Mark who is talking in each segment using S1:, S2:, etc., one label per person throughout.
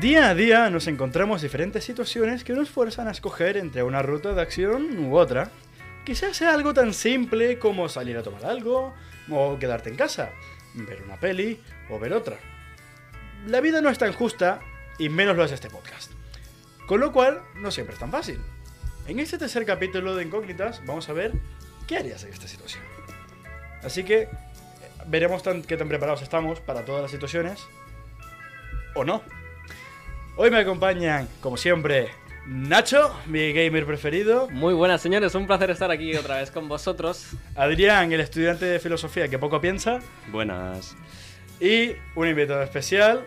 S1: Día a día nos encontramos diferentes situaciones que nos fuerzan a escoger entre una ruta de acción u otra. Quizás sea algo tan simple como salir a tomar algo, o quedarte en casa, ver una peli o ver otra. La vida no es tan justa, y menos lo es este podcast. Con lo cual, no siempre es tan fácil. En este tercer capítulo de Incógnitas vamos a ver qué harías en esta situación. Así que eh, veremos tan- qué tan preparados estamos para todas las situaciones, o no. Hoy me acompañan, como siempre, Nacho, mi gamer preferido,
S2: Muy buenas, señores. Un placer estar aquí otra vez con vosotros.
S1: Adrián, el estudiante de filosofía que poco piensa,
S3: Buenas.
S1: y un invitado especial,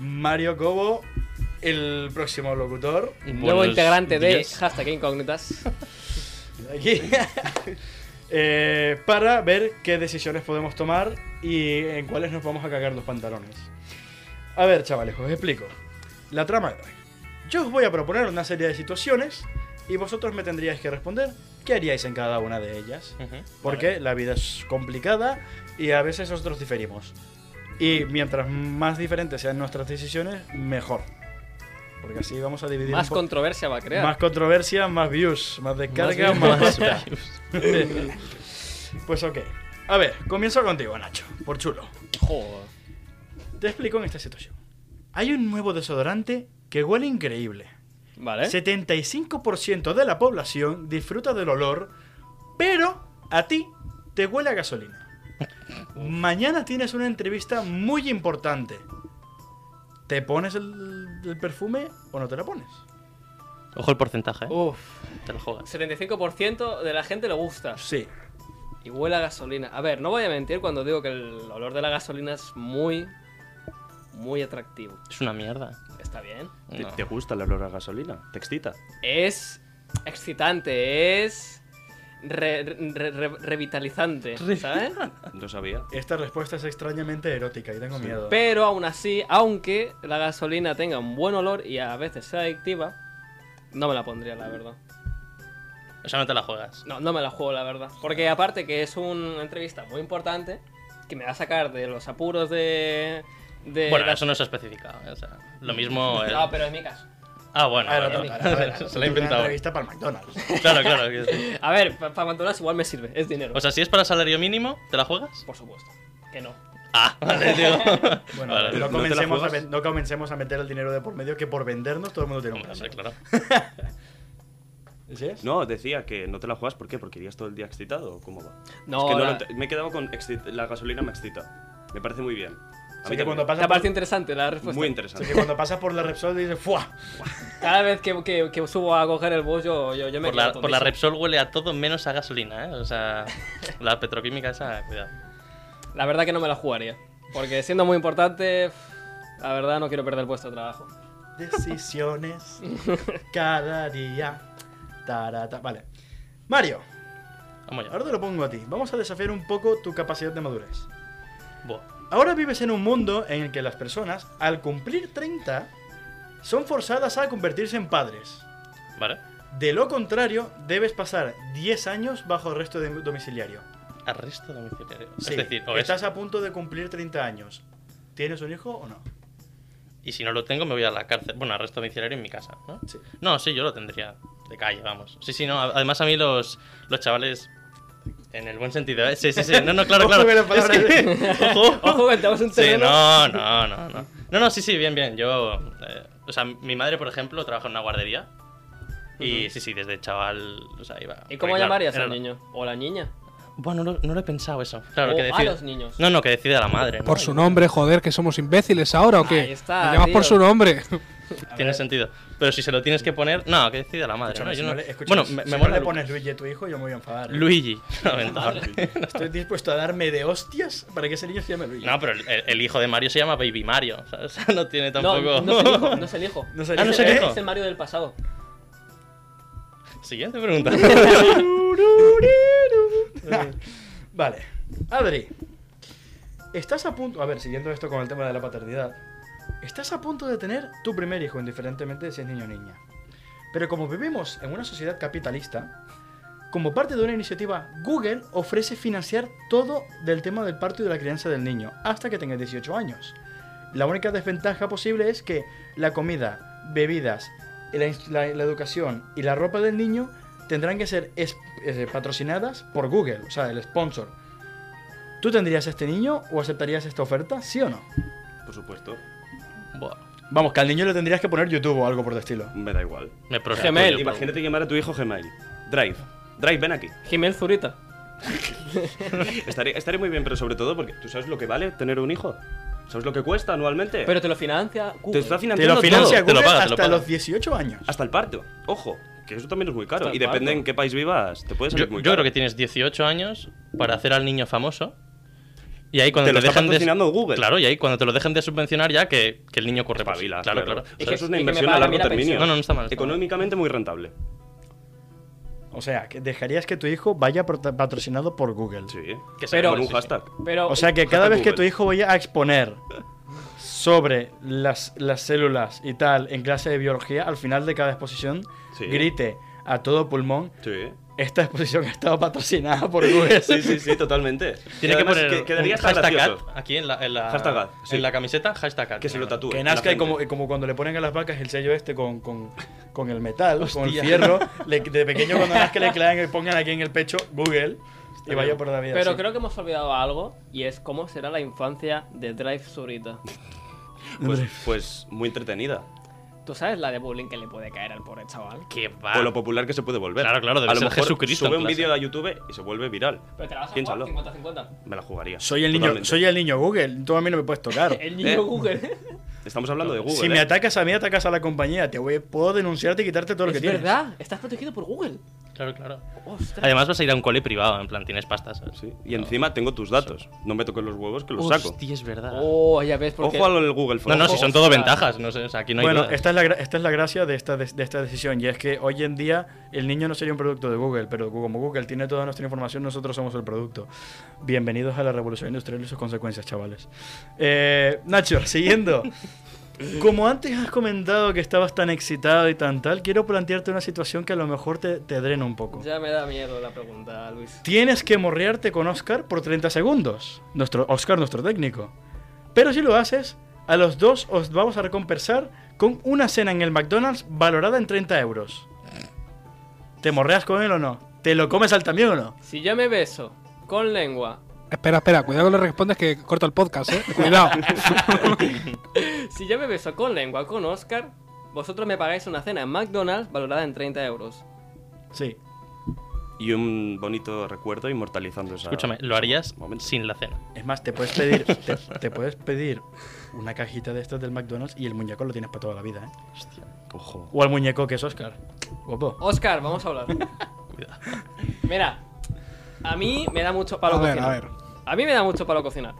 S1: Mario Cobo, el próximo locutor.
S2: Nuevo
S3: Buenos
S2: integrante de
S3: días.
S2: Hashtag Incógnitas.
S1: Aquí. Eh, para ver qué decisiones podemos tomar y en cuáles nos vamos a cagar los pantalones. A ver, chavales, os explico. La trama de hoy. Yo os voy a proponer una serie de situaciones y vosotros me tendríais que responder qué haríais en cada una de ellas. Porque la vida es complicada y a veces nosotros diferimos. Y mientras más diferentes sean nuestras decisiones, mejor. Porque así vamos a dividir
S2: Más
S1: un po-
S2: controversia va a crear.
S1: más controversia, más views, más descarga,
S2: views,
S1: más,
S2: más
S1: basura. pues ok. A ver, comienzo contigo, Nacho, por chulo.
S2: Joder.
S1: Te explico en esta situación. Hay un nuevo desodorante que huele increíble.
S2: Vale.
S1: 75% de la población disfruta del olor, pero a ti te huele a gasolina. Mañana tienes una entrevista muy importante. ¿Te pones el, el perfume o no te la pones?
S3: Ojo el porcentaje, ¿eh?
S2: Uf.
S3: Te lo juegas.
S2: 75% de la gente le gusta.
S1: Sí.
S2: Y huele a gasolina. A ver, no voy a mentir cuando digo que el olor de la gasolina es muy, muy atractivo.
S3: Es una mierda.
S2: Está bien.
S3: No.
S4: ¿Te, te gusta el olor a gasolina? ¿Te excita?
S2: Es excitante, es re- re- re- revitalizante, ¿sabes?
S3: No sabía.
S1: Esta respuesta es extrañamente erótica y tengo miedo.
S2: Pero aún así, aunque la gasolina tenga un buen olor y a veces sea adictiva, no me la pondría, la verdad.
S3: O sea, no te la juegas.
S2: No, no me la juego, la verdad. Porque aparte que es una entrevista muy importante, que me va a sacar de los apuros de...
S1: Eh,
S2: de
S3: Bueno,
S2: la-
S3: eso no se ha especificado. ¿eh? O sea,
S1: Mm.
S3: lo mismo. el-
S2: No, pero en mi caso.
S3: Ah, bueno.
S1: Ah, era
S3: bueno.
S1: otra, era otra.
S3: se lo
S1: Una
S3: he inventado.
S1: entrevista para el McDonald's.
S3: Claro, claro. que sí.
S2: A ver, para McDonald's igual me sirve, es dinero.
S3: O sea, si es para salario mínimo, ¿te la juegas?
S2: por supuesto. Que no.
S3: Ah, vale, digo.
S1: Bueno, no,
S4: ¿no te
S3: Vale.
S4: la
S1: comencemos a,
S4: juegas?
S1: ven- no comencemos a meter el dinero de por medio que por vendernos todo el mundo tiene un
S3: Hombre,
S1: precio.
S3: hombre, claro.
S1: ¿Sí es?
S4: No, decía que no te la juegas, ¿por qué? ¿Porque irías todo el día excitado? o ¿Cómo va?
S2: No,
S4: Es que
S2: la-
S4: lo ent- me he quedado con excit- la gasolina me excita. Me parece muy bien. A
S1: Así
S4: mí
S1: que cuando
S4: también.
S1: pasas
S2: La parte
S1: por,
S2: interesante, la
S3: pues
S2: respuesta.
S4: Muy
S1: así
S4: interesante.
S1: que cuando pasas por la Repsol dices ¡Fua!
S2: Cada vez que, que- que subo a coger el bus, yo, yo, yo me
S3: Por la,
S2: quedo
S3: por la
S2: tontísimo.
S3: Repsol huele a todo menos a gasolina, ¿eh? O sea, la petroquímica esa, cuidado.
S2: La verdad que no me la jugaría. Porque siendo muy importante, la verdad no quiero perder puesto de trabajo.
S1: Decisiones cada día. Tarata. Vale. Mario,
S3: Vamos ya.
S1: ahora te lo pongo a ti. Vamos a desafiar un poco tu capacidad de madurez.
S3: Buah.
S1: Ahora vives en un mundo en el que las personas, al cumplir 30, son forzadas a convertirse en padres.
S3: Vale.
S1: De lo contrario, debes pasar 10 años bajo arresto de- domiciliario.
S3: Arresto domiciliario.
S1: Sí,
S3: es decir, o es-
S1: estás a punto de cumplir 30 años. ¿Tienes un hijo o no?
S3: Y si no lo tengo, me voy a la cárcel. Bueno, arresto domiciliario en mi casa, ¿no?
S1: Sí.
S3: No, sí, yo lo tendría de calle, vamos. Sí, sí, no. a- Además, a mí los, los chavales. En el buen sentido, ¿eh? Sí, sí, sí. No, no, claro,
S1: Ojo
S3: claro.
S1: que la palabra
S3: Es que- Ojo.
S2: Ojo, que entramos en
S3: Sí,
S2: terreno.
S3: no, no, no, no. No, no, sí, sí, bien, bien. Yo. eh, o sea, mi madre, por ejemplo, trabaja en una guardería. Y sí, sí, desde chaval. O sea, iba.
S2: ¿Y
S3: porque,
S2: cómo
S3: claro,
S2: llamarías
S3: era-
S2: al niño? ¿O la niña?
S3: Bueno, no, lo- no lo he pensado eso. Claro,
S2: O
S3: que
S2: a
S3: decide.
S2: los niños.
S3: No, no, que decide la madre. ¿no?
S5: Por su nombre, joder, que somos imbéciles ahora o qué.
S2: Ahí está,
S5: Me llamas por
S2: tío.
S5: su nombre.
S3: Tiene sentido. Pero si se lo tienes que poner. No, que decida la madre.
S1: Escúchame,
S3: ¿no?
S1: si
S3: Yo
S1: no
S3: no-
S1: le- escúchame,
S3: Bueno,
S1: si-
S3: me,
S1: si
S3: me
S1: no
S3: mola
S1: le
S3: Lu-
S1: pones Luigi a tu hijo, yo me voy a enfadar. ¿eh?
S3: Luigi. Aventador.
S1: Estoy dispuesto a darme de hostias para que ese niño se llame Luigi.
S3: No, pero el, el hijo de Mario se llama Baby Mario. ¿sabes? O sea, no tiene
S2: No,
S3: tampoco.
S2: no es el hijo, no es el
S1: No sé,
S2: hijo.
S3: Ah, no
S1: dice-
S3: sé
S2: es,
S3: qué
S1: ¿eh?
S3: hijo.
S2: es el Mario del pasado.
S3: Siguiente pregunta.
S1: Vale. Adri, estás a punto. A ver, siguiendo esto con el tema de la paternidad. Estás a punto de tener tu primer hijo, indiferentemente de si es niño o niña. Pero como vivimos en una sociedad capitalista, como parte de una iniciativa, Google ofrece financiar todo del tema del parto y de la crianza del niño, hasta que tenga 18 años. La única desventaja posible es que la comida, bebidas, la, inst- la- la educación y la ropa del niño tendrán que ser es- eh, patrocinadas por Google, o sea, el sponsor. ¿Tú tendrías a este niño o aceptarías esta oferta? ¿Sí o no?
S4: Por supuesto.
S3: Buah,
S1: Vamos, que al niño le tendrías que poner YouTube o algo por el estilo.
S4: Me da igual.
S3: me prostituyo.
S2: Gemel,
S3: por-
S4: Imagínate llamar a tu hijo Gmail. Drive. Drive, ven aquí.
S2: Jimel Zurita.
S4: Estaré, estaré muy bien, pero sobre todo porque tú sabes lo que vale tener un hijo. ¿Sabes lo que cuesta anualmente?
S2: Pero te lo financia
S4: te
S2: Google.
S4: está
S1: Te
S4: financiando
S1: lo financia
S4: todo.
S3: te lo
S1: Google
S3: paga, te lo
S1: hasta
S3: paga.
S1: los 18 años.
S4: Hasta el parto. Ojo, que eso también es muy caro.
S2: Hasta el
S4: Y depende
S2: parto.
S4: en qué país vivas. Te puede
S3: Yo,
S4: salir muy
S3: yo
S4: caro.
S3: creo que tienes 18 años para hacer al niño famoso. Y ahí cuando
S4: Te
S3: te,
S4: lo está
S3: dejan
S4: patrocinando
S3: de
S4: Google.
S3: Claro, y ahí cuando te lo dejan de subvencionar ya que, que el niño corre por-
S4: Espabila,
S3: Claro, claro.
S4: O sea, eso es una
S2: y que me
S4: inversión
S2: paga
S4: a
S2: a mí
S4: largo
S2: la
S4: término.
S2: pensión.
S3: No, no, no está mal, está mal.
S4: Económicamente muy rentable.
S1: O sea, que dejarías que tu hijo vaya prota- patrocinado por Google.
S4: Sí.
S3: Que se
S2: Pero-
S4: Con un
S3: sí, sí.
S4: hashtag.
S2: Pero
S1: O sea que cada vez que
S4: Google.
S1: tu hijo vaya a exponer sobre las, las células y tal en clase de biología, al final de cada exposición
S4: Sí.
S1: grite a todo pulmón,
S4: Sí.
S1: esta exposición ha estado patrocinada por Google.
S4: Sí, sí, sí, totalmente.
S3: Tiene
S4: Y
S3: que
S4: además
S3: poner
S4: que- quedaría
S3: un
S4: hasta
S3: hashtag ad
S4: gracioso.
S3: aquí en la, en la,
S4: Hashtag ad, sí.
S3: en la camiseta, hashtag ad.
S4: Que se lo tatúe.
S1: Que
S4: en la
S1: nazca y
S4: frente.
S1: como, y como cuando le ponen a las vacas el sello este con, con, con el metal, con el
S3: Hostia.
S1: fierro, le- de pequeño cuando nazca le clavan y pongan aquí en el pecho Google y vaya por la vida.
S2: Pero
S1: así.
S2: creo que hemos olvidado algo y es cómo será la infancia de Drive Zurita.
S4: Pues, pues muy entretenida.
S2: ¿Tú sabes la de bullying que le puede caer al pobre chaval?
S3: Que va.
S4: Por lo popular que se puede volver.
S3: Claro, claro, debe
S4: a lo
S3: ser
S4: mejor
S3: Jesucristo
S4: Sube
S3: en
S4: un
S3: clase.
S4: vídeo a YouTube y se vuelve viral.
S2: Pero te la vas a
S4: Piénsalo.
S2: jugar 50-50.
S4: Me la jugaría.
S1: soy el niño,
S4: Totalmente.
S1: soy el niño Google, tú a mí no me puedes tocar.
S2: El niño Google.
S4: Estamos hablando de Google.
S1: si me
S4: ¿eh?
S1: atacas a mí, atacas a la compañía. Te voy, puedo denunciarte y quitarte todo lo que
S2: es
S1: tienes.
S2: verdad, estás protegido por Google.
S3: Claro, claro.
S2: Ostras.
S3: Además vas a ir a un cole privado, en plan, tienes pastas.
S4: Sí, Y encima tengo tus datos. No me toques los huevos que los saco.
S3: Hostia, es verdad.
S2: Oh, ya ves, porque
S4: Ojo al Google
S3: no,
S4: Forms.
S3: no, si son todo
S2: Ostras.
S3: ventajas. No sé, o sea, aquí no hay
S1: bueno,
S3: duda.
S1: esta es, la, gra- esta es la gracia de esta, de, de esta decisión y es que hoy en día el niño no sería un producto de Google, pero como Google tiene toda nuestra información, nosotros somos el producto. Bienvenidos a la revolución industrial y sus consecuencias, chavales. Eh, Nacho, siguiendo. Como antes has comentado que estabas tan excitado y tan tal, quiero plantearte una situación que a lo mejor te, te drena un poco.
S2: ya me da miedo la pregunta, Luis.
S1: Tienes que morrearte con Oscar por 30 segundos. Nuestro Oscar, nuestro técnico. Pero si lo haces, a los dos os vamos a recompensar con una cena en el McDonald's valorada en 30 euros. ¿Te morreas con él o no? ¿Te lo comes al también o no?
S2: Si yo me beso con lengua,
S5: Espera, espera, cuidado con lo que respondes que corto el podcast, eh. Cuidado.
S2: si yo me beso con lengua con Oscar, vosotros me pagáis una cena en McDonald's valorada en 30 euros.
S1: Sí.
S4: Y un bonito recuerdo inmortalizando esa.
S3: Escúchame, lo harías
S4: Momento.
S3: sin la cena.
S1: Es más, te puedes pedir, te, te puedes pedir una cajita de estas del McDonald's y el muñeco lo tienes para toda la vida, ¿eh?
S4: Ojo.
S1: O al muñeco que es Oscar. Guapo.
S2: Oscar, vamos a hablar.
S3: Cuidado.
S2: Mira, a mí me da mucho palo
S5: A ver,
S2: cocinar.
S5: a ver.
S2: A mí me da mucho palo cocinar.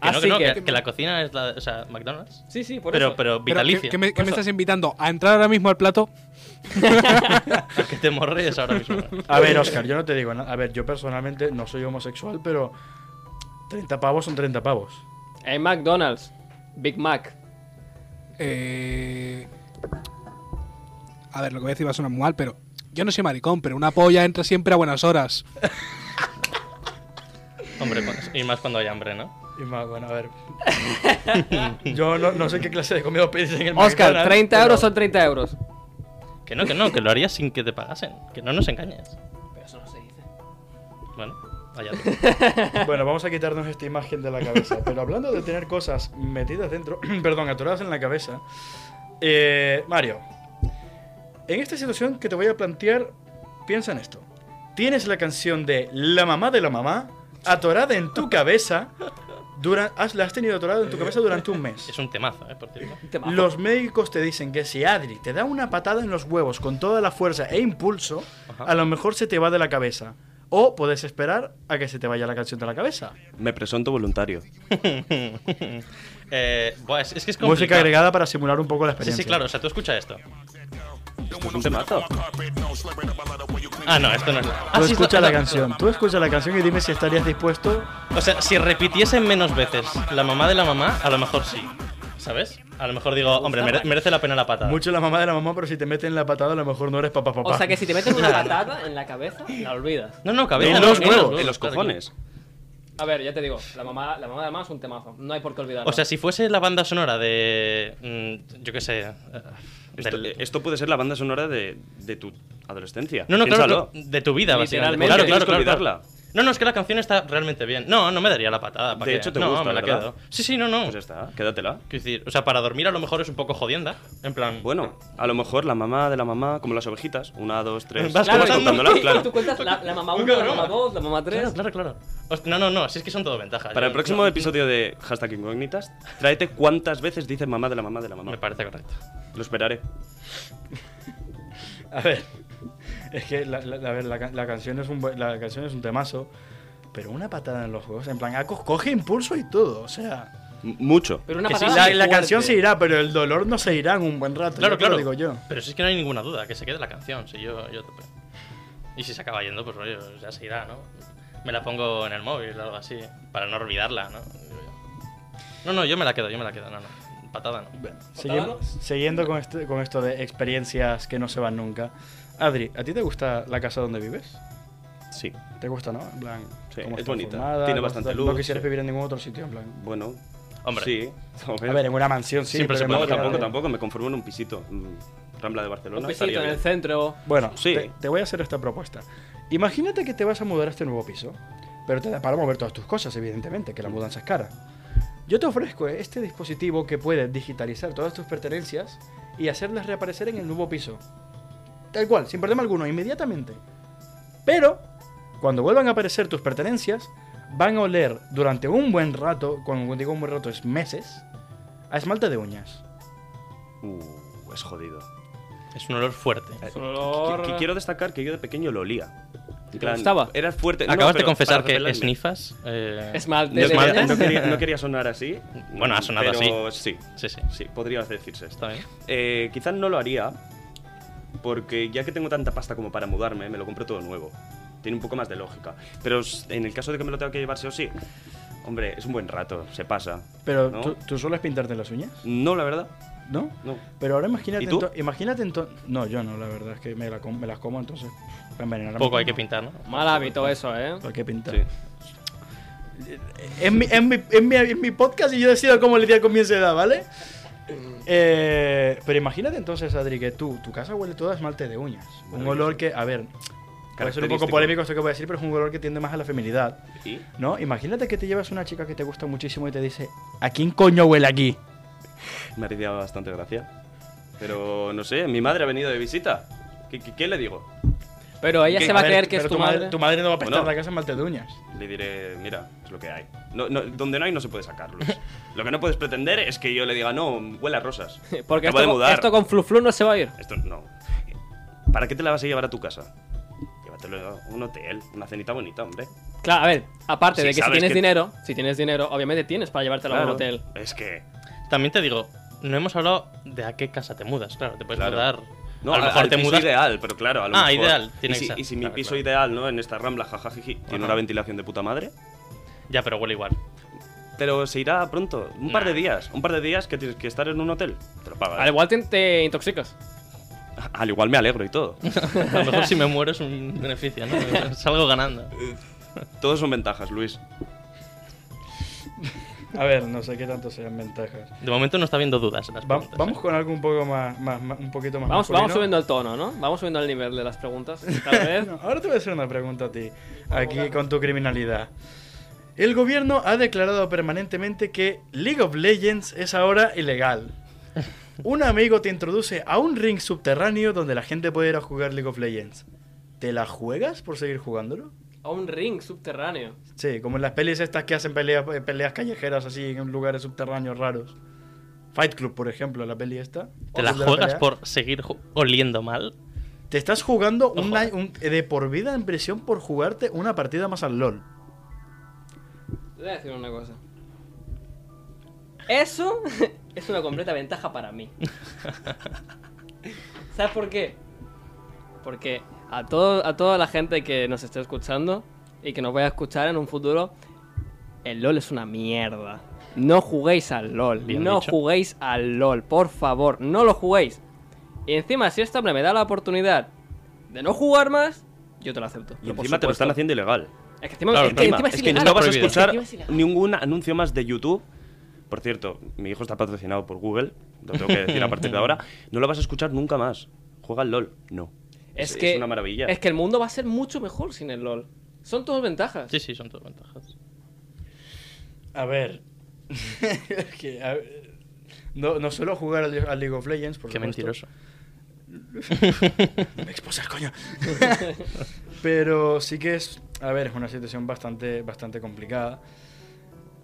S3: Que no, que,
S2: Así
S3: no,
S2: Ah, que-
S3: que- que la cocina es la. O sea, McDonald's.
S2: Sí, sí, por
S3: Pero,
S2: eso.
S3: pero
S5: Pero, ¿qué,
S3: vitalicia.
S5: qué me, qué me
S2: Eso.
S5: estás invitando? ¿A entrar ahora mismo al plato?
S3: que te morres ahora mismo.
S1: A ver, Oscar, yo no te digo nada. A ver, yo personalmente no soy homosexual, pero 30 pavos son 30 pavos.
S2: En McDonald's, Big Mac.
S5: Eh... A ver, lo que voy a decir va a sonar muy mal, pero yo no soy maricón, pero una polla entra siempre a buenas horas.
S3: Hombre, pues, y más cuando hay hambre, ¿no?
S1: Y más, bueno, a ver. Yo no, no sé qué clase de comida pedís en el
S2: Oscar,
S1: McDonald's,
S2: 30
S1: pero-
S2: euros son 30 euros.
S3: Que no, que no, que lo harías sin que te pagasen. Que no nos engañes.
S2: Pero eso no se dice.
S3: Bueno, pues, allá tú.
S1: Bueno, vamos a quitarnos esta imagen de la cabeza. Pero hablando de tener cosas metidas dentro, perdón, atoradas en la cabeza, eh, Mario, en esta situación que te voy a plantear, piensa en esto. Tienes la canción de La mamá de la mamá atorada en tu cabeza. dura- has- la has tenido atorada en tu cabeza durante un mes.
S3: Es un temazo, ¿eh? Por cierto.
S1: Los médicos te dicen que si Adri te da una patada en los huevos con toda la fuerza e impulso,
S3: Ajá.
S1: a lo mejor se te va de la cabeza. O puedes esperar a que se te vaya la canción de la cabeza.
S4: Me presento voluntario.
S3: Eh, buah, es, es que es complicado.
S1: Música agregada para simular un poco la
S3: Sí,
S1: experiencia.
S3: sí, claro. O sea, tú escucha esto.
S4: Esto es un temazo.
S3: Ah, no, esto no es. Ah,
S1: Tú
S3: sí,
S1: escucha
S3: esto-
S1: la
S3: esto-
S1: canción, tú escucha la canción y dime si estarías dispuesto.
S3: O sea, si repitiesen menos veces la mamá de la mamá, a lo mejor sí. ¿Sabes? A lo mejor digo, hombre, mere- merece la pena la patada.
S1: Mucho la mamá de la mamá, pero si te meten la patada a lo mejor no eres papá papá.
S2: O sea que si te meten una patada en la cabeza, la olvidas.
S3: No, no, cabeza.
S1: En
S3: no,
S1: los
S3: en
S1: huevos,
S4: En los
S3: claro,
S4: cojones.
S2: A ver, ya te digo, la mamá, la mamá de la mamá es un temazo. No hay por qué
S3: claro.
S2: olvidarlo.
S3: O sea, si fuese la banda sonora de. mm, Yo qué sé. eh,
S4: Esto, eh,
S3: del-
S4: esto puede ser la banda sonora de, de tu adolescencia.
S3: No, no, claro,
S4: Piénsalo.
S3: cl- de tu vida, básicamente.
S2: Literalmente.
S3: Claro, claro,
S4: Tienes que
S3: claro,
S4: olvidarla.
S3: claro. No, no, es que la canción está realmente bien. No, no me daría la patada. ¿pa'
S4: De
S3: qué?
S4: hecho, te
S3: no,
S4: gusta,
S3: me la
S4: ¿verdad?
S3: quedo. Sí, sí, no, no.
S4: Pues ya está, quédatela.
S3: Quiero decir, o sea, para dormir a lo mejor es un poco jodienda. En plan,
S4: Bueno, a lo mejor la mamá de la mamá, como las ovejitas, una, dos, tres.
S3: Vas
S4: Claro,
S3: contando.
S4: contándolas, claro.
S2: Tú cuentas la, la mamá 1,
S3: Nunca
S2: la mamá
S3: broma.
S2: 2, la mamá 3.
S3: Claro, claro, claro. Os- No, no, no, si es que son todo ventajas.
S4: Para el
S3: Yo-
S4: próximo
S3: no,
S4: episodio de Hashtag Incógnitas, tráete cuántas veces dice mamá de la mamá de la mamá.
S3: Me parece correcto.
S4: Lo esperaré.
S1: A ver, es que la, la- a ver, la, ca- la canción es un, buen- la canción es un temazo, pero una patada en los juegos, en plan, ah, co- coge impulso y todo, o sea.
S4: M- mucho.
S2: Pero una
S3: Que sí,
S1: Sí,
S2: patada
S1: la,
S2: muy
S1: la
S2: fuerte.
S1: canción se irá, pero el dolor no se irá en un buen rato.
S3: Claro,
S1: yo te lo
S3: claro.
S1: digo yo.
S3: Pero si es que no hay ninguna duda, que se quede la canción. Si yo, yo tope. Y si se acaba yendo, pues rollo, ya se irá, ¿no? Me la pongo en el móvil o algo así, para no olvidarla, ¿no? Digo yo. No, no, yo me la quedo, yo me la quedo, no, no. Patada no.
S1: Siguiendo,
S2: ¿Patada,
S1: siguiendo con, este- con esto de experiencias que no se van nunca. Adri, ¿a ti te gusta la casa donde vives?
S4: Sí.
S1: ¿Te gusta, no? En plan,
S4: Sí,
S1: cómo
S4: es
S1: está
S4: bonita,
S1: formada,
S4: tiene
S1: cómo
S4: bastante
S1: está- No
S4: luz,
S1: quisieras
S4: sí.
S1: vivir en ningún otro sitio, en plan.
S4: Bueno.
S3: Hombre.
S4: Sí. A ver.
S1: A ver, en una mansión sí,
S3: Siempre
S1: pero
S3: se
S1: en
S4: No,
S3: puede,
S1: otra-
S4: tampoco, tampoco. Me conformo en un pisito. Mm, Rambla de Barcelona.
S2: Un pisito
S4: estaría
S2: en el
S4: bien.
S2: centro.
S1: Bueno,
S4: Sí.
S1: te, te voy a hacer esta propuesta. Imagínate que te vas a mudar a este nuevo piso, pero te da para mover todas tus cosas, evidentemente, que la mudanza es cara. Yo te ofrezco este dispositivo que puede digitalizar todas tus pertenencias y hacerlas reaparecer en el nuevo piso. Tal cual, sin problema alguno, inmediatamente. Pero, cuando vuelvan a aparecer tus pertenencias, van a oler durante un buen rato, cuando digo un buen rato es meses, a esmalte de uñas.
S4: Uh, es jodido.
S3: Es un olor fuerte.
S4: Eh,
S2: Olor.
S4: qui- qui- Quiero destacar que yo de pequeño lo olía. En plan,
S2: gustaba?
S4: Era fuerte. No,
S3: Acabas de
S4: pero
S3: confesar
S4: para
S3: que
S4: repelarme.
S3: esnifas. eh,
S2: Esmalte.
S4: No,
S2: de
S4: quería-
S2: dientes.
S4: no quería, no quería sonar así.
S3: Bueno, ha sonado
S4: pero Sí,
S3: Sí, sí.
S4: sí, podría decirse esto.
S3: Está bien.
S4: Eh, quizás no lo haría, porque ya que tengo tanta pasta como para mudarme, me lo compro todo nuevo. Tiene un poco más de lógica. Pero s- en el caso de que me lo tenga que llevar sí o sí, hombre, es un buen rato, se pasa.
S1: Pero,
S4: ¿No?
S1: ¿tú, tú sueles pintarte las uñas?
S4: No, la verdad,
S1: ¿No?
S4: no.
S1: Pero ahora imagínate,
S4: ¿Y tú?
S1: ento- imagínate entonces. No, yo no, la verdad es que me, la com- me las como, entonces. Para envenenarme.
S3: Poco hay que pintar, ¿no?
S2: Mal hábito eso, ¿eh?
S1: Hay que pintar.
S4: Sí.
S1: Es, mi, es, mi, es mi- es mi podcast y yo decido cómo lidiar con mi ansiedad, ¿vale? Eh, pero imagínate entonces, Adri, que tú, tu casa huele todo a esmalte de uñas. Un
S4: Maravilloso.
S1: olor que, a ver, puede ser un poco
S4: Característico.
S1: polémico esto que voy a decir, pero es un olor que tiende más a la feminidad,
S4: ¿Y?
S1: ¿no? Imagínate que te llevas una chica que te gusta muchísimo y te dice, ¿a quién coño huele aquí?
S4: Me hacía bastante gracia. Pero no sé, mi madre ha venido de visita. ¿Qué, qué- qué le digo?
S2: Pero ella
S4: Que-
S2: se va a
S1: ver,
S2: creer que es
S1: pero
S2: tu madre.
S1: Tu madre no va a prestar
S4: Bueno.
S1: la casa esmalte de uñas.
S4: Le diré, mira, es lo que hay. No, no, donde no hay no se puede sacarlos. lo que no puedes pretender es que yo le diga, no, huele a rosas.
S2: Porque
S4: Acabo de
S2: esto,
S4: mudar.
S2: esto con Fluflu no se va a ir.
S4: Esto no. ¿Para qué te la vas a llevar a tu casa? Llévatelo a un hotel, una cenita bonita, hombre.
S2: Claro, a ver, aparte
S4: Sí,
S2: de que si
S4: sabes
S2: tienes
S4: que-
S2: dinero, si tienes dinero, obviamente tienes para llevártelo a
S4: Claro.
S2: un hotel.
S4: Es que.
S3: También te digo, no hemos hablado de a qué casa te mudas, claro. Te puedes
S4: Claro.
S3: mudar.
S4: No,
S3: a lo mejor
S4: al
S3: te
S4: piso
S3: mudas.
S4: ideal, pero claro, a lo
S3: Ah,
S4: mejor.
S3: ideal, tiene
S4: y si,
S3: que ser.
S4: y si mi
S3: Claro,
S4: piso
S3: claro.
S4: ideal, ¿no? En esta rambla, jajajiji, tiene una ventilación de puta madre.
S3: Ya, pero huele igual.
S4: Pero se irá pronto, un par de
S3: Nah.
S4: días. Un par de días que tienes que estar en un hotel. Te lo pagas.
S2: Al igual te, te intoxicas.
S4: Al igual me alegro y todo.
S3: A lo mejor si me muero es un beneficio, ¿no? Salgo ganando.
S4: Todos son ventajas, Luis.
S1: A ver, no sé qué tanto sean ventajas.
S3: De momento no está viendo dudas en las
S1: Va-
S3: preguntas,
S1: vamos
S3: ¿eh?
S1: con algo un poco más, más- más- un poquito más.
S2: Vamos, vamos
S1: masculino.
S2: subiendo el tono, ¿no? Vamos subiendo el nivel de las preguntas. Tal vez.
S1: No, ahora te voy a hacer una pregunta a ti, aquí con tu criminalidad. El gobierno ha declarado permanentemente que League of Legends es ahora ilegal. Un amigo te introduce a un ring subterráneo donde la gente puede ir a jugar League of Legends. ¿Te la juegas por seguir jugándolo?
S2: A un ring subterráneo.
S1: Sí, como en las pelis estas que hacen peleas, eh, peleas callejeras así en lugares subterráneos raros. Fight Club, por ejemplo, la peli esta.
S3: ¿Te la
S1: Club de
S3: juegas
S1: pelea.
S3: por seguir ju- oliendo mal?
S1: Te estás jugando
S3: Ojo.
S1: un, año- un- eh, de por vida en prisión por jugarte una partida más al LOL.
S2: Te voy a decir una cosa. Eso es una completa ventaja para mí. ¿Sabes por qué? Porque a, todo, a toda la gente que nos esté escuchando y que nos vaya a escuchar en un futuro, el LOL es una mierda. No juguéis al LOL.
S3: Bien
S2: no
S3: dicho.
S2: juguéis al LOL, por favor, no lo juguéis. Y encima, si esta hombre me da la oportunidad de no jugar más, yo te lo acepto.
S4: Y
S2: Pero por
S4: encima te lo
S2: supuesto-
S4: están haciendo ilegal.
S2: Es que encima,
S3: Claro,
S2: es que encima es
S4: es que
S2: ilegal.
S4: no vas a
S3: prohibido.
S4: escuchar
S2: Es que encima es ilegal.
S4: ningún anuncio más de YouTube. Por cierto, mi hijo está patrocinado por Google, lo tengo que decir a partir de ahora. No lo vas a escuchar nunca más. Juega al LOL. No.
S2: Es que,
S4: una maravilla.
S2: Es que el mundo va a ser mucho mejor sin el LOL. Son todas ventajas.
S3: Sí, sí, son todas ventajas.
S1: A ver. Es que, a ver, No, no suelo jugar al, al League of Legends, por
S3: Qué
S1: supuesto.
S3: mentiroso.
S1: Me expulsas, coño. Pero sí que es, a ver, es una situación bastante, bastante complicada.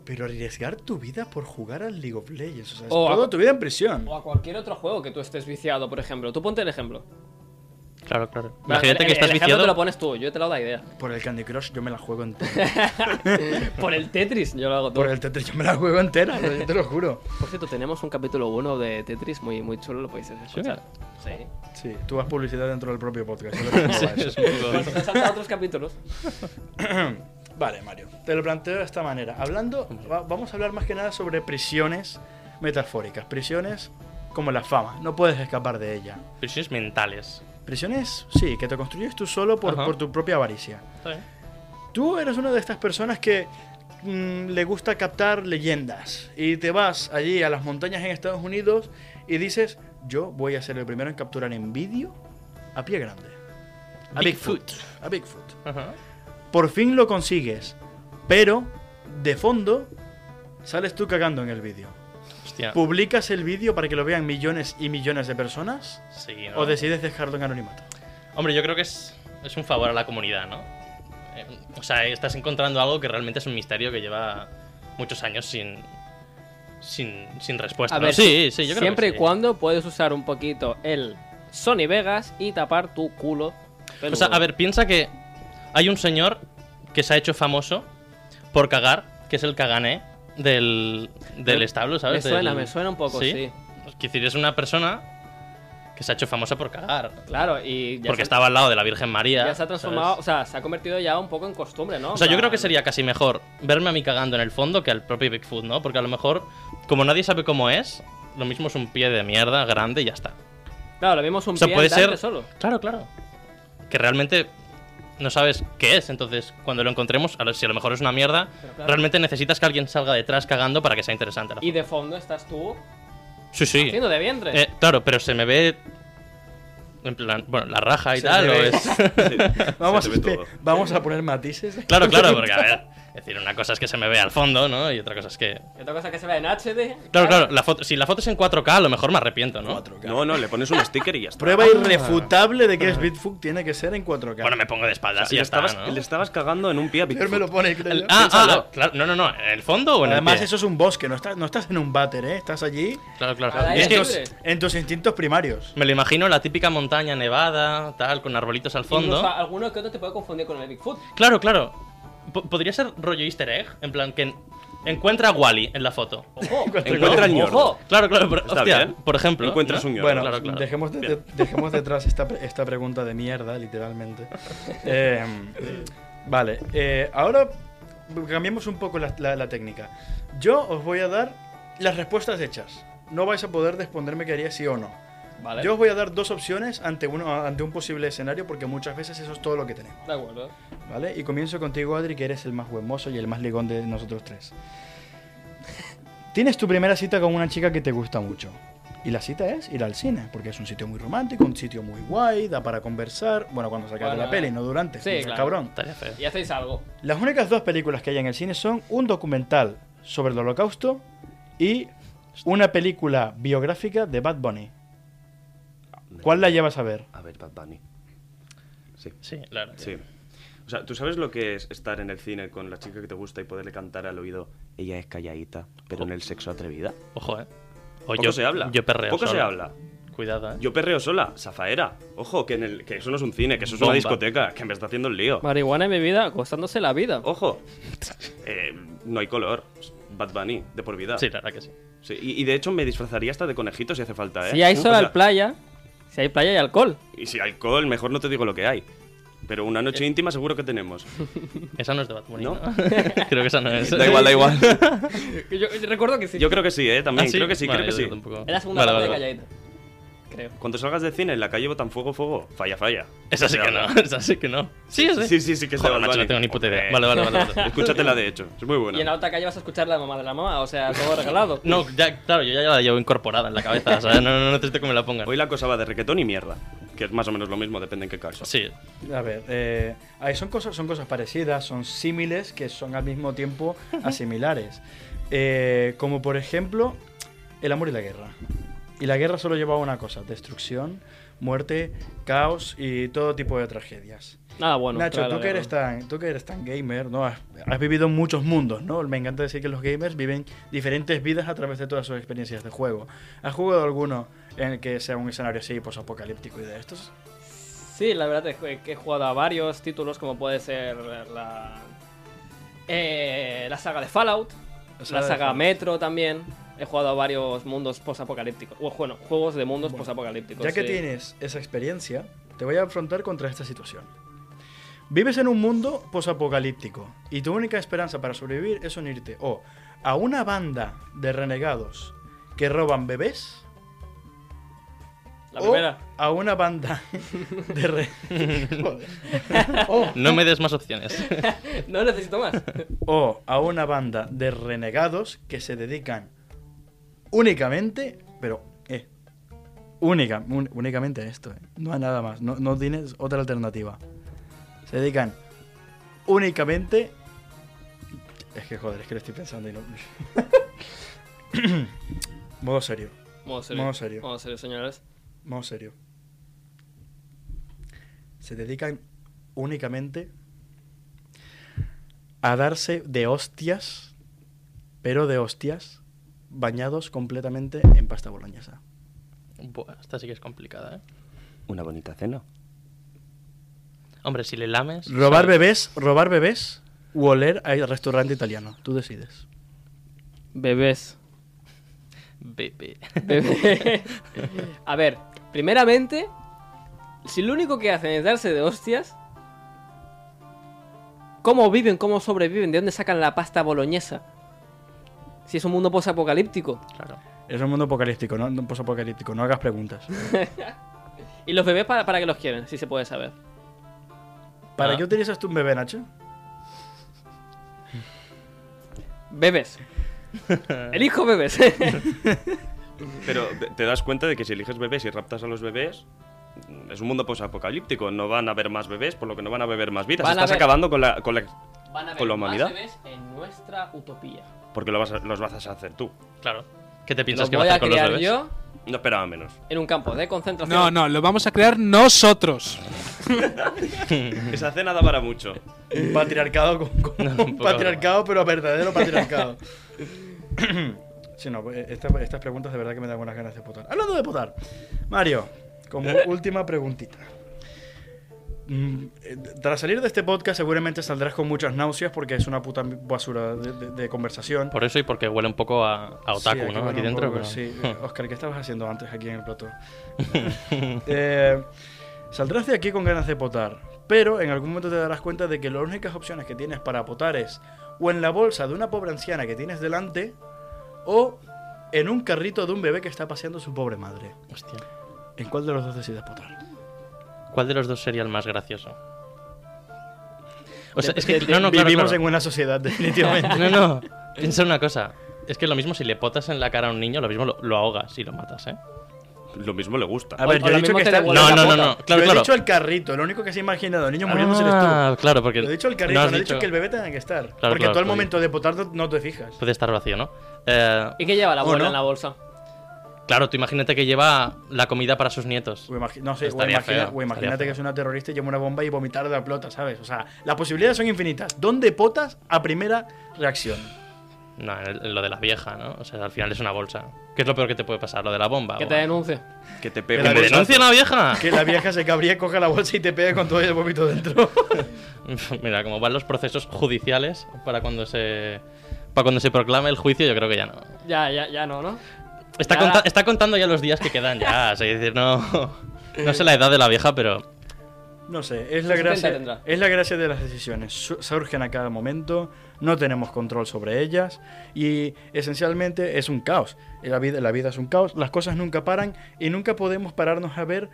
S1: Pero arriesgar tu vida por jugar al League of Legends, o sea, es
S3: Oh,
S2: O a-
S3: ah,
S1: toda tu vida en prisión.
S2: O a cualquier otro juego que tú estés viciado, por ejemplo. Tú ponte el ejemplo.
S3: Claro, claro.
S2: El-
S3: Imagínate que
S2: el ejemplo
S3: estás
S2: eh, te lo
S3: viciado.
S2: pones tú, yo te lo doy la idea.
S3: ah.
S1: Por el Candy Crush yo me la juego entera.
S2: Por el Tetris, yo lo hago todo.
S1: Por el Tetris yo me la juego entera, o sea, yo te lo juro.
S2: Por cierto, tenemos un capítulo 1 de Tetris muy, muy chulo, lo podéis escuchar. Sí.
S1: Sí, tú vas publicidad dentro del propio podcast. yo lo tengo
S3: Sí,
S1: guay, eso.
S3: es un poco-
S2: Pues te has saltado otros capítulos.
S1: Vale, Mario, te lo planteo de esta manera. Hablando, va- vamos a hablar más que nada sobre prisiones metafóricas, prisiones como la fama, no puedes escapar de ella.
S3: Prisiones mentales.
S1: Prisiones, sí, que te construyes tú solo por,
S3: Ajá.
S1: por tu propia avaricia.
S3: Está bien.
S1: Tú eres una de estas personas que mm, le gusta captar leyendas y te vas allí a las montañas en Estados Unidos y dices, yo voy a ser el primero en capturar en vídeo a pie grande. A
S3: Bigfoot.
S1: A Bigfoot.
S3: Ajá.
S1: Por fin lo consigues, pero de fondo sales tú cagando en el vídeo.
S3: Hostia.
S1: ¿Publicas el vídeo para que lo vean millones y millones de personas?
S3: Sí, ¿no?
S1: ¿O decides dejarlo en anonimato?
S3: Hombre, yo creo que es, es un favor a la comunidad, ¿no? Eh, o sea, estás encontrando algo que realmente es un misterio que lleva muchos años sin, sin, sin respuesta.
S2: A
S3: Pues ¿no?
S2: ver,
S3: sí, sí, yo creo
S2: siempre
S3: que sí.
S2: y cuando puedes usar un poquito el Sony Vegas y tapar tu culo.
S3: O sea, a ver, piensa que hay un señor que se ha hecho famoso por cagar, que es el cagané del, del
S2: Me-
S3: establo,
S2: Me
S3: ¿sabes?
S2: suena,
S3: Del-
S2: me suena un poco,
S3: ¿Sí?
S2: sí.
S3: Es decir, es una persona que se ha hecho famosa por cagar.
S2: Claro, y ya
S3: porque
S2: se-
S3: estaba al lado de la Virgen María.
S2: Ya se ha transformado,
S3: ¿sabes?
S2: o sea, se ha convertido ya un poco en costumbre, ¿no?
S3: O sea, yo
S2: En
S3: creo que
S2: plan-
S3: sería casi mejor verme a mí cagando en el fondo que al propio Bigfoot, ¿no? Porque a lo mejor, como nadie sabe cómo es, lo mismo es un pie de mierda grande y ya está.
S2: Claro, lo vimos un
S3: O sea,
S2: pie
S3: puede
S2: andante
S3: ser-
S2: solo.
S3: Claro, claro. Que realmente no sabes qué es, entonces cuando lo encontremos, a lo- si a lo mejor es una mierda,
S2: Pero claro.
S3: realmente necesitas que alguien salga detrás cagando para que sea interesante. la
S2: Y de fondo estás tú
S3: foto. sí, sí.
S2: haciendo de vientre.
S3: Eh, claro, pero se me ve... En plan, bueno, la raja y
S1: Se
S3: tal,
S1: te
S3: o
S1: ve.
S3: es...
S1: Vamos,
S4: Se
S1: a,
S4: te ve todo.
S1: vamos a poner matices.
S3: Claro, claro, porque a ver... Es decir, una cosa es que se me ve al fondo, ¿no? Y otra cosa es que...
S2: Y otra cosa que se ve en HD.
S3: Claro, claro, la foto, si la foto es en 4K, a lo mejor me arrepiento, ¿no?
S4: No, no, le pones un sticker y ya está.
S1: Prueba irrefutable de que es Bitfoot tiene que ser en 4K.
S3: Bueno, me pongo de espaldas
S4: Si
S3: y
S4: le,
S3: ya está,
S4: estabas,
S3: ¿no?
S4: le estabas cagando en un pie a
S1: Pero me lo
S4: Bigfoot.
S1: pone, creo
S3: El-
S1: yo.
S3: ah, ah,
S4: Piénsalo.
S3: ah, claro, no, no, no, ¿en el fondo o en el
S1: Además,
S3: pie?
S1: eso es un bosque, no estás, no estás en un váter, ¿eh? Estás allí
S3: Claro, claro.
S2: Al aire
S3: Es que
S2: libre.
S1: en tus instintos primarios.
S3: me lo imagino la típica montaña nevada, tal, con arbolitos al
S2: Incluso
S3: fondo.
S2: alguno que otro te puede confundir con el Bigfoot.
S3: Claro, claro. Po- podría ser rollo easter egg, en plan que en- encuentra a Wally en la foto.
S2: Ojo,
S4: Encuentra al ñordo.
S2: ojo.
S3: Claro, claro, pero,
S4: Está
S3: hostia,
S4: bien.
S3: por ejemplo.
S4: Encuentras
S3: ¿no?
S4: un ñordo.
S1: Bueno,
S3: claro, claro.
S1: dejemos, de- de- dejemos detrás esta, pre- esta pregunta de mierda, literalmente. Eh, vale, eh, ahora cambiemos un poco la, la- la técnica. Yo os voy a dar las respuestas hechas. No vais a poder responderme que haría sí o no.
S2: Vale.
S1: Yo os voy a dar dos opciones ante, uno, ante un posible escenario porque muchas veces eso es todo lo que tenemos.
S2: De acuerdo.
S1: ¿Vale? Y comienzo contigo, Adri, que eres el más buen mozo y el más ligón de nosotros tres. Tienes tu primera cita con una chica que te gusta mucho. Y la cita es ir al cine, porque es un sitio muy romántico, un sitio muy guay, da para conversar. Bueno, cuando se acabe
S2: Bueno,
S1: la peli, no durante.
S2: sí,
S1: no seas
S2: claro.
S1: cabrón.
S3: Estaría feo.
S2: Y hacéis algo.
S1: Las únicas dos películas que hay en el cine son un documental sobre el holocausto y una película biográfica de Bad Bunny. ¿Cuál la llevas a ver?
S4: A ver, Bad Bunny. Sí.
S3: Sí, claro.
S4: Sí. O sea, ¿tú sabes lo que es estar en el cine con la chica que te gusta y poderle cantar al oído? Ella es calladita, pero en el sexo atrevida.
S3: Ojo, eh. O
S4: Poco
S3: yo,
S4: se habla.
S3: Yo perreo
S4: Poco se
S3: solo.
S4: habla.
S3: Cuidado, eh.
S4: Yo perreo sola, Zafaera. Ojo, que, en el, que eso no es un cine, que eso es
S3: Bomba.
S4: una discoteca, que me está haciendo el lío.
S2: Marihuana en mi vida, costándose la vida.
S4: Ojo, Eh, no hay color. Bad Bunny, de por vida.
S3: Sí, la verdad que sí. Uh,
S4: Sí, y, y de hecho me disfrazaría hasta de conejito si hace falta, ¿eh?
S2: Si hay
S4: O
S2: sol
S4: sea,
S2: al playa, Si hay playa y alcohol.
S4: Y si alcohol, mejor no te digo lo que hay. Pero una noche
S3: Eh.
S4: íntima seguro que tenemos.
S3: Esa no es de Bad Bunny,
S4: ¿No?
S3: ¿no? Creo que esa no es.
S4: Da igual, da igual.
S2: Yo, recuerdo que sí.
S4: Yo creo que sí, ¿eh? También,
S3: ¿Ah, sí?
S4: creo que sí,
S3: Vale,
S4: creo que
S3: yo
S4: sí.
S3: tampoco.
S2: Es la segunda
S3: Vale,
S2: parte
S3: vale, vale.
S2: de Calladito. Creo.
S4: Cuando salgas del cine en la calle botan fuego, fuego. Falla, falla.
S3: Esa sí que no, esa sí que no. Sí, esa
S4: Sí, sí, sí que es de
S3: Joder,
S4: Bad
S3: macho,
S4: Bunny.
S3: no tengo ni puta idea.
S4: Hombre.
S3: Vale, vale, vale. vale.
S4: Escúchatela, de hecho. Es muy
S2: Y en la
S4: buena.
S2: otra calle vas a escuchar la mamá de la mamá, o sea, todo regalado.
S3: No, ya, claro, yo ya la llevo incorporada en la cabeza, o sea, no, no necesito que me la pongan.
S4: Hoy la cosa va de reggaetón y mierda. Que es más o menos lo mismo, depende en qué caso.
S3: Sí,
S1: A ver, eh, ahí son, cosas, son cosas parecidas, son símiles que son al mismo tiempo asimilares. Eh, como por ejemplo, el amor y la guerra. Y la guerra solo llevaba una cosa, destrucción, muerte, caos y todo tipo de tragedias.
S2: Nada bueno.
S1: Nacho,
S2: claro,
S1: tú, que
S2: claro.
S1: eres tan, tú que eres tan gamer, ¿no? Has, has vivido muchos mundos, ¿no? Me encanta decir que los gamers viven diferentes vidas a través de todas sus experiencias de juego. ¿Has jugado alguno en el que sea un escenario así, pues apocalíptico y de estos?
S2: Sí, la verdad es que he jugado a varios títulos, como puede ser la. eh, la saga de Fallout, la
S1: saga
S2: saga,
S1: de Fallout.
S2: Metro también. He jugado a varios mundos posapocalípticos. O, Bueno, juegos de mundos posapocalípticos.
S1: Ya que
S2: sí.
S1: tienes esa experiencia, te voy a afrontar contra esta situación. Vives en un mundo posapocalíptico y tu única esperanza para sobrevivir es unirte o a una banda de renegados que roban bebés
S2: La
S1: o
S2: primera.
S1: a una banda de re- Joder. o,
S3: no me des más opciones.
S1: Oh.
S2: No necesito más.
S1: o a una banda de renegados que se dedican únicamente, pero eh, única, un- únicamente a esto, eh. no a nada más, no, no tienes otra alternativa. Se dedican únicamente... Es que joder, es que lo estoy pensando y no... modo serio,
S2: Modo serio.
S1: Modo serio.
S2: Modo serio, señores.
S1: modo serio. Se dedican únicamente a darse de hostias, pero de hostias, bañados completamente en pasta boloñesa.
S3: Buah, esta sí que es complicada, ¿eh?
S4: Una bonita cena.
S3: Hombre, si le lames.
S1: Robar
S3: ¿sabes?
S1: bebés, robar bebés u oler al restaurante italiano. Tú decides.
S2: Bebés.
S3: Bebé.
S2: Bebé. A ver, primeramente, si lo único que hacen es darse de hostias, ¿cómo viven? ¿Cómo sobreviven? ¿De dónde sacan la pasta boloñesa? Si es un mundo posapocalíptico.
S3: Claro.
S1: Es un mundo apocalíptico, no, no posapocalíptico. No hagas preguntas.
S2: ¿Y los bebés para, para qué los quieren? Si se puede saber.
S1: ¿Para
S3: Ah.
S1: qué utilizas tú un bebé, Nacho?
S2: Bebés. Elijo bebés.
S4: Pero te- te das cuenta de que si eliges bebés y raptas a los bebés, es un mundo posapocalíptico. No van a haber más bebés, por lo que no van a beber más vidas.
S2: Van a
S4: Estás
S2: haber-
S4: acabando con la, con la-
S2: Van a haber
S4: Con la
S2: más
S4: humanidad.
S2: bebés en nuestra utopía.
S4: Porque lo vas a- los vas a hacer tú.
S3: Claro. ¿Qué te piensas
S2: Los
S3: que va a
S2: voy a
S3: hacer con los
S2: criar
S3: bebés?
S2: yo
S4: No esperaba menos.
S2: en un campo de concentración.
S5: No, no, lo vamos a crear nosotros.
S4: Esa cena da para mucho.
S1: Un patriarcado con, con- un
S3: poco
S1: patriarcado, pero verdadero patriarcado. sí, no, eh, esta- estas preguntas de verdad que me dan buenas ganas de potar. Hablando de potar, Mario, como última preguntita. Mm, eh, Tras salir de este podcast seguramente saldrás con muchas náuseas porque es una puta basura de, de- de conversación.
S3: Por eso y porque huele un poco a, a
S1: Sí,
S3: otaku,
S1: aquí,
S3: ¿no?
S1: bueno,
S3: Aquí
S1: un
S3: dentro.
S1: poco,
S3: pero-
S1: Sí, Eh, Oscar, ¿qué estabas haciendo antes aquí en el plató? Eh, saldrás de aquí con ganas de potar, pero en algún momento te darás cuenta de que las únicas opciones que tienes para potar es o en la bolsa de una pobre anciana que tienes delante o en un carrito de un bebé que está paseando su pobre madre.
S3: Hostia.
S1: ¿En cuál de los dos decides potar?
S3: ¿Cuál de los dos sería el más gracioso? O sea,
S1: De-
S3: es que
S1: de-
S3: no, no, claro,
S1: vivimos
S3: claro.
S1: en una sociedad definitivamente.
S3: No, no. Piensa una cosa. Es que lo mismo si le potas en la cara a un niño, lo mismo lo, lo ahogas y lo matas, ¿eh?
S4: Lo mismo le gusta.
S1: A ver,
S2: O-
S1: yo
S2: o
S1: he
S2: lo
S1: dicho
S2: mismo
S1: que
S2: te
S1: está...
S2: devuelve
S3: No,
S2: la
S3: no, no,
S2: bota.
S3: no. Claro,
S1: yo he
S3: claro.
S1: dicho el carrito, lo único que se ha imaginado, niño muriéndose eres tú.
S3: Ah, claro, porque.
S1: Lo he dicho el carrito,
S3: no
S1: no,
S3: has
S1: he dicho
S3: dicho-
S1: que el bebé tenga que estar.
S3: Claro, pues
S1: porque
S3: claro,
S1: tú al
S3: coño.
S1: momento de potar no, no te fijas.
S3: Puede estar vacío, ¿no? Eh,
S2: ¿Y qué lleva la
S1: ¿O
S2: abuela
S1: no?
S2: en la bolsa?
S3: claro, tú imagínate que lleva la comida para sus nietos.
S1: O Pues imagi- no sé, o,
S3: Estaría
S1: imagina-
S3: feo,
S1: o
S3: estaría
S1: imagínate
S3: feo.
S1: que es una terrorista y lleva una bomba y vomitar de la plota, ¿sabes? O sea, las posibilidades son infinitas. ¿Dónde potas a primera reacción?
S3: No, en el- en lo de la vieja, ¿no? O sea, al final es una bolsa. ¿Qué es lo peor que te puede pasar? Lo de la bomba.
S2: Que te
S3: guau.
S2: denuncie.
S4: Que te pegue
S1: Pero
S4: un
S3: ¡Me
S1: de-
S4: bolsazo.
S3: denuncia una vieja!
S1: Que la vieja se cabría, coja la bolsa y te pegue con todo el vómito dentro.
S3: Mira, como van los procesos judiciales para cuando se. Para cuando se proclame el juicio, yo creo que ya no.
S2: Ya, ya, ya no, ¿no?
S3: Está,
S2: Ya.
S3: conta- está contando ya los días que quedan ya. o sea, decir, no. No sé la edad de la vieja, pero.
S1: No sé, es la,
S2: 70
S1: gracia,
S2: tendrá.
S1: es la gracia de las decisiones. Su- Surgen a cada momento, no tenemos control sobre ellas y esencialmente es un caos. La vida, la vida es un caos, las cosas nunca paran y nunca podemos pararnos a ver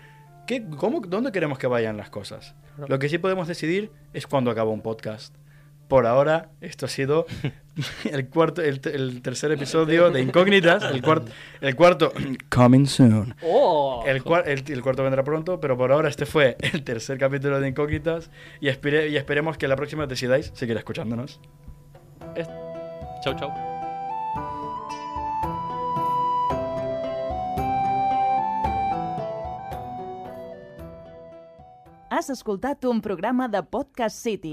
S1: qué, cómo, dónde queremos que vayan las cosas. Lo que sí podemos decidir es cuándo acaba un podcast. Por ahora, esto ha sido el, cuarto, el, te- el tercer episodio de Incógnitas, el, cuarto el cuarto Coming Soon.
S2: ¡Oh!
S1: El, cuar- el- el cuarto vendrá pronto, pero por ahora este fue el tercer capítulo de Incógnitas y, espere- y esperemos que la próxima decidáis seguir escuchándonos.
S3: Chau, chau.
S6: Has escoltat un programa de Podcast City,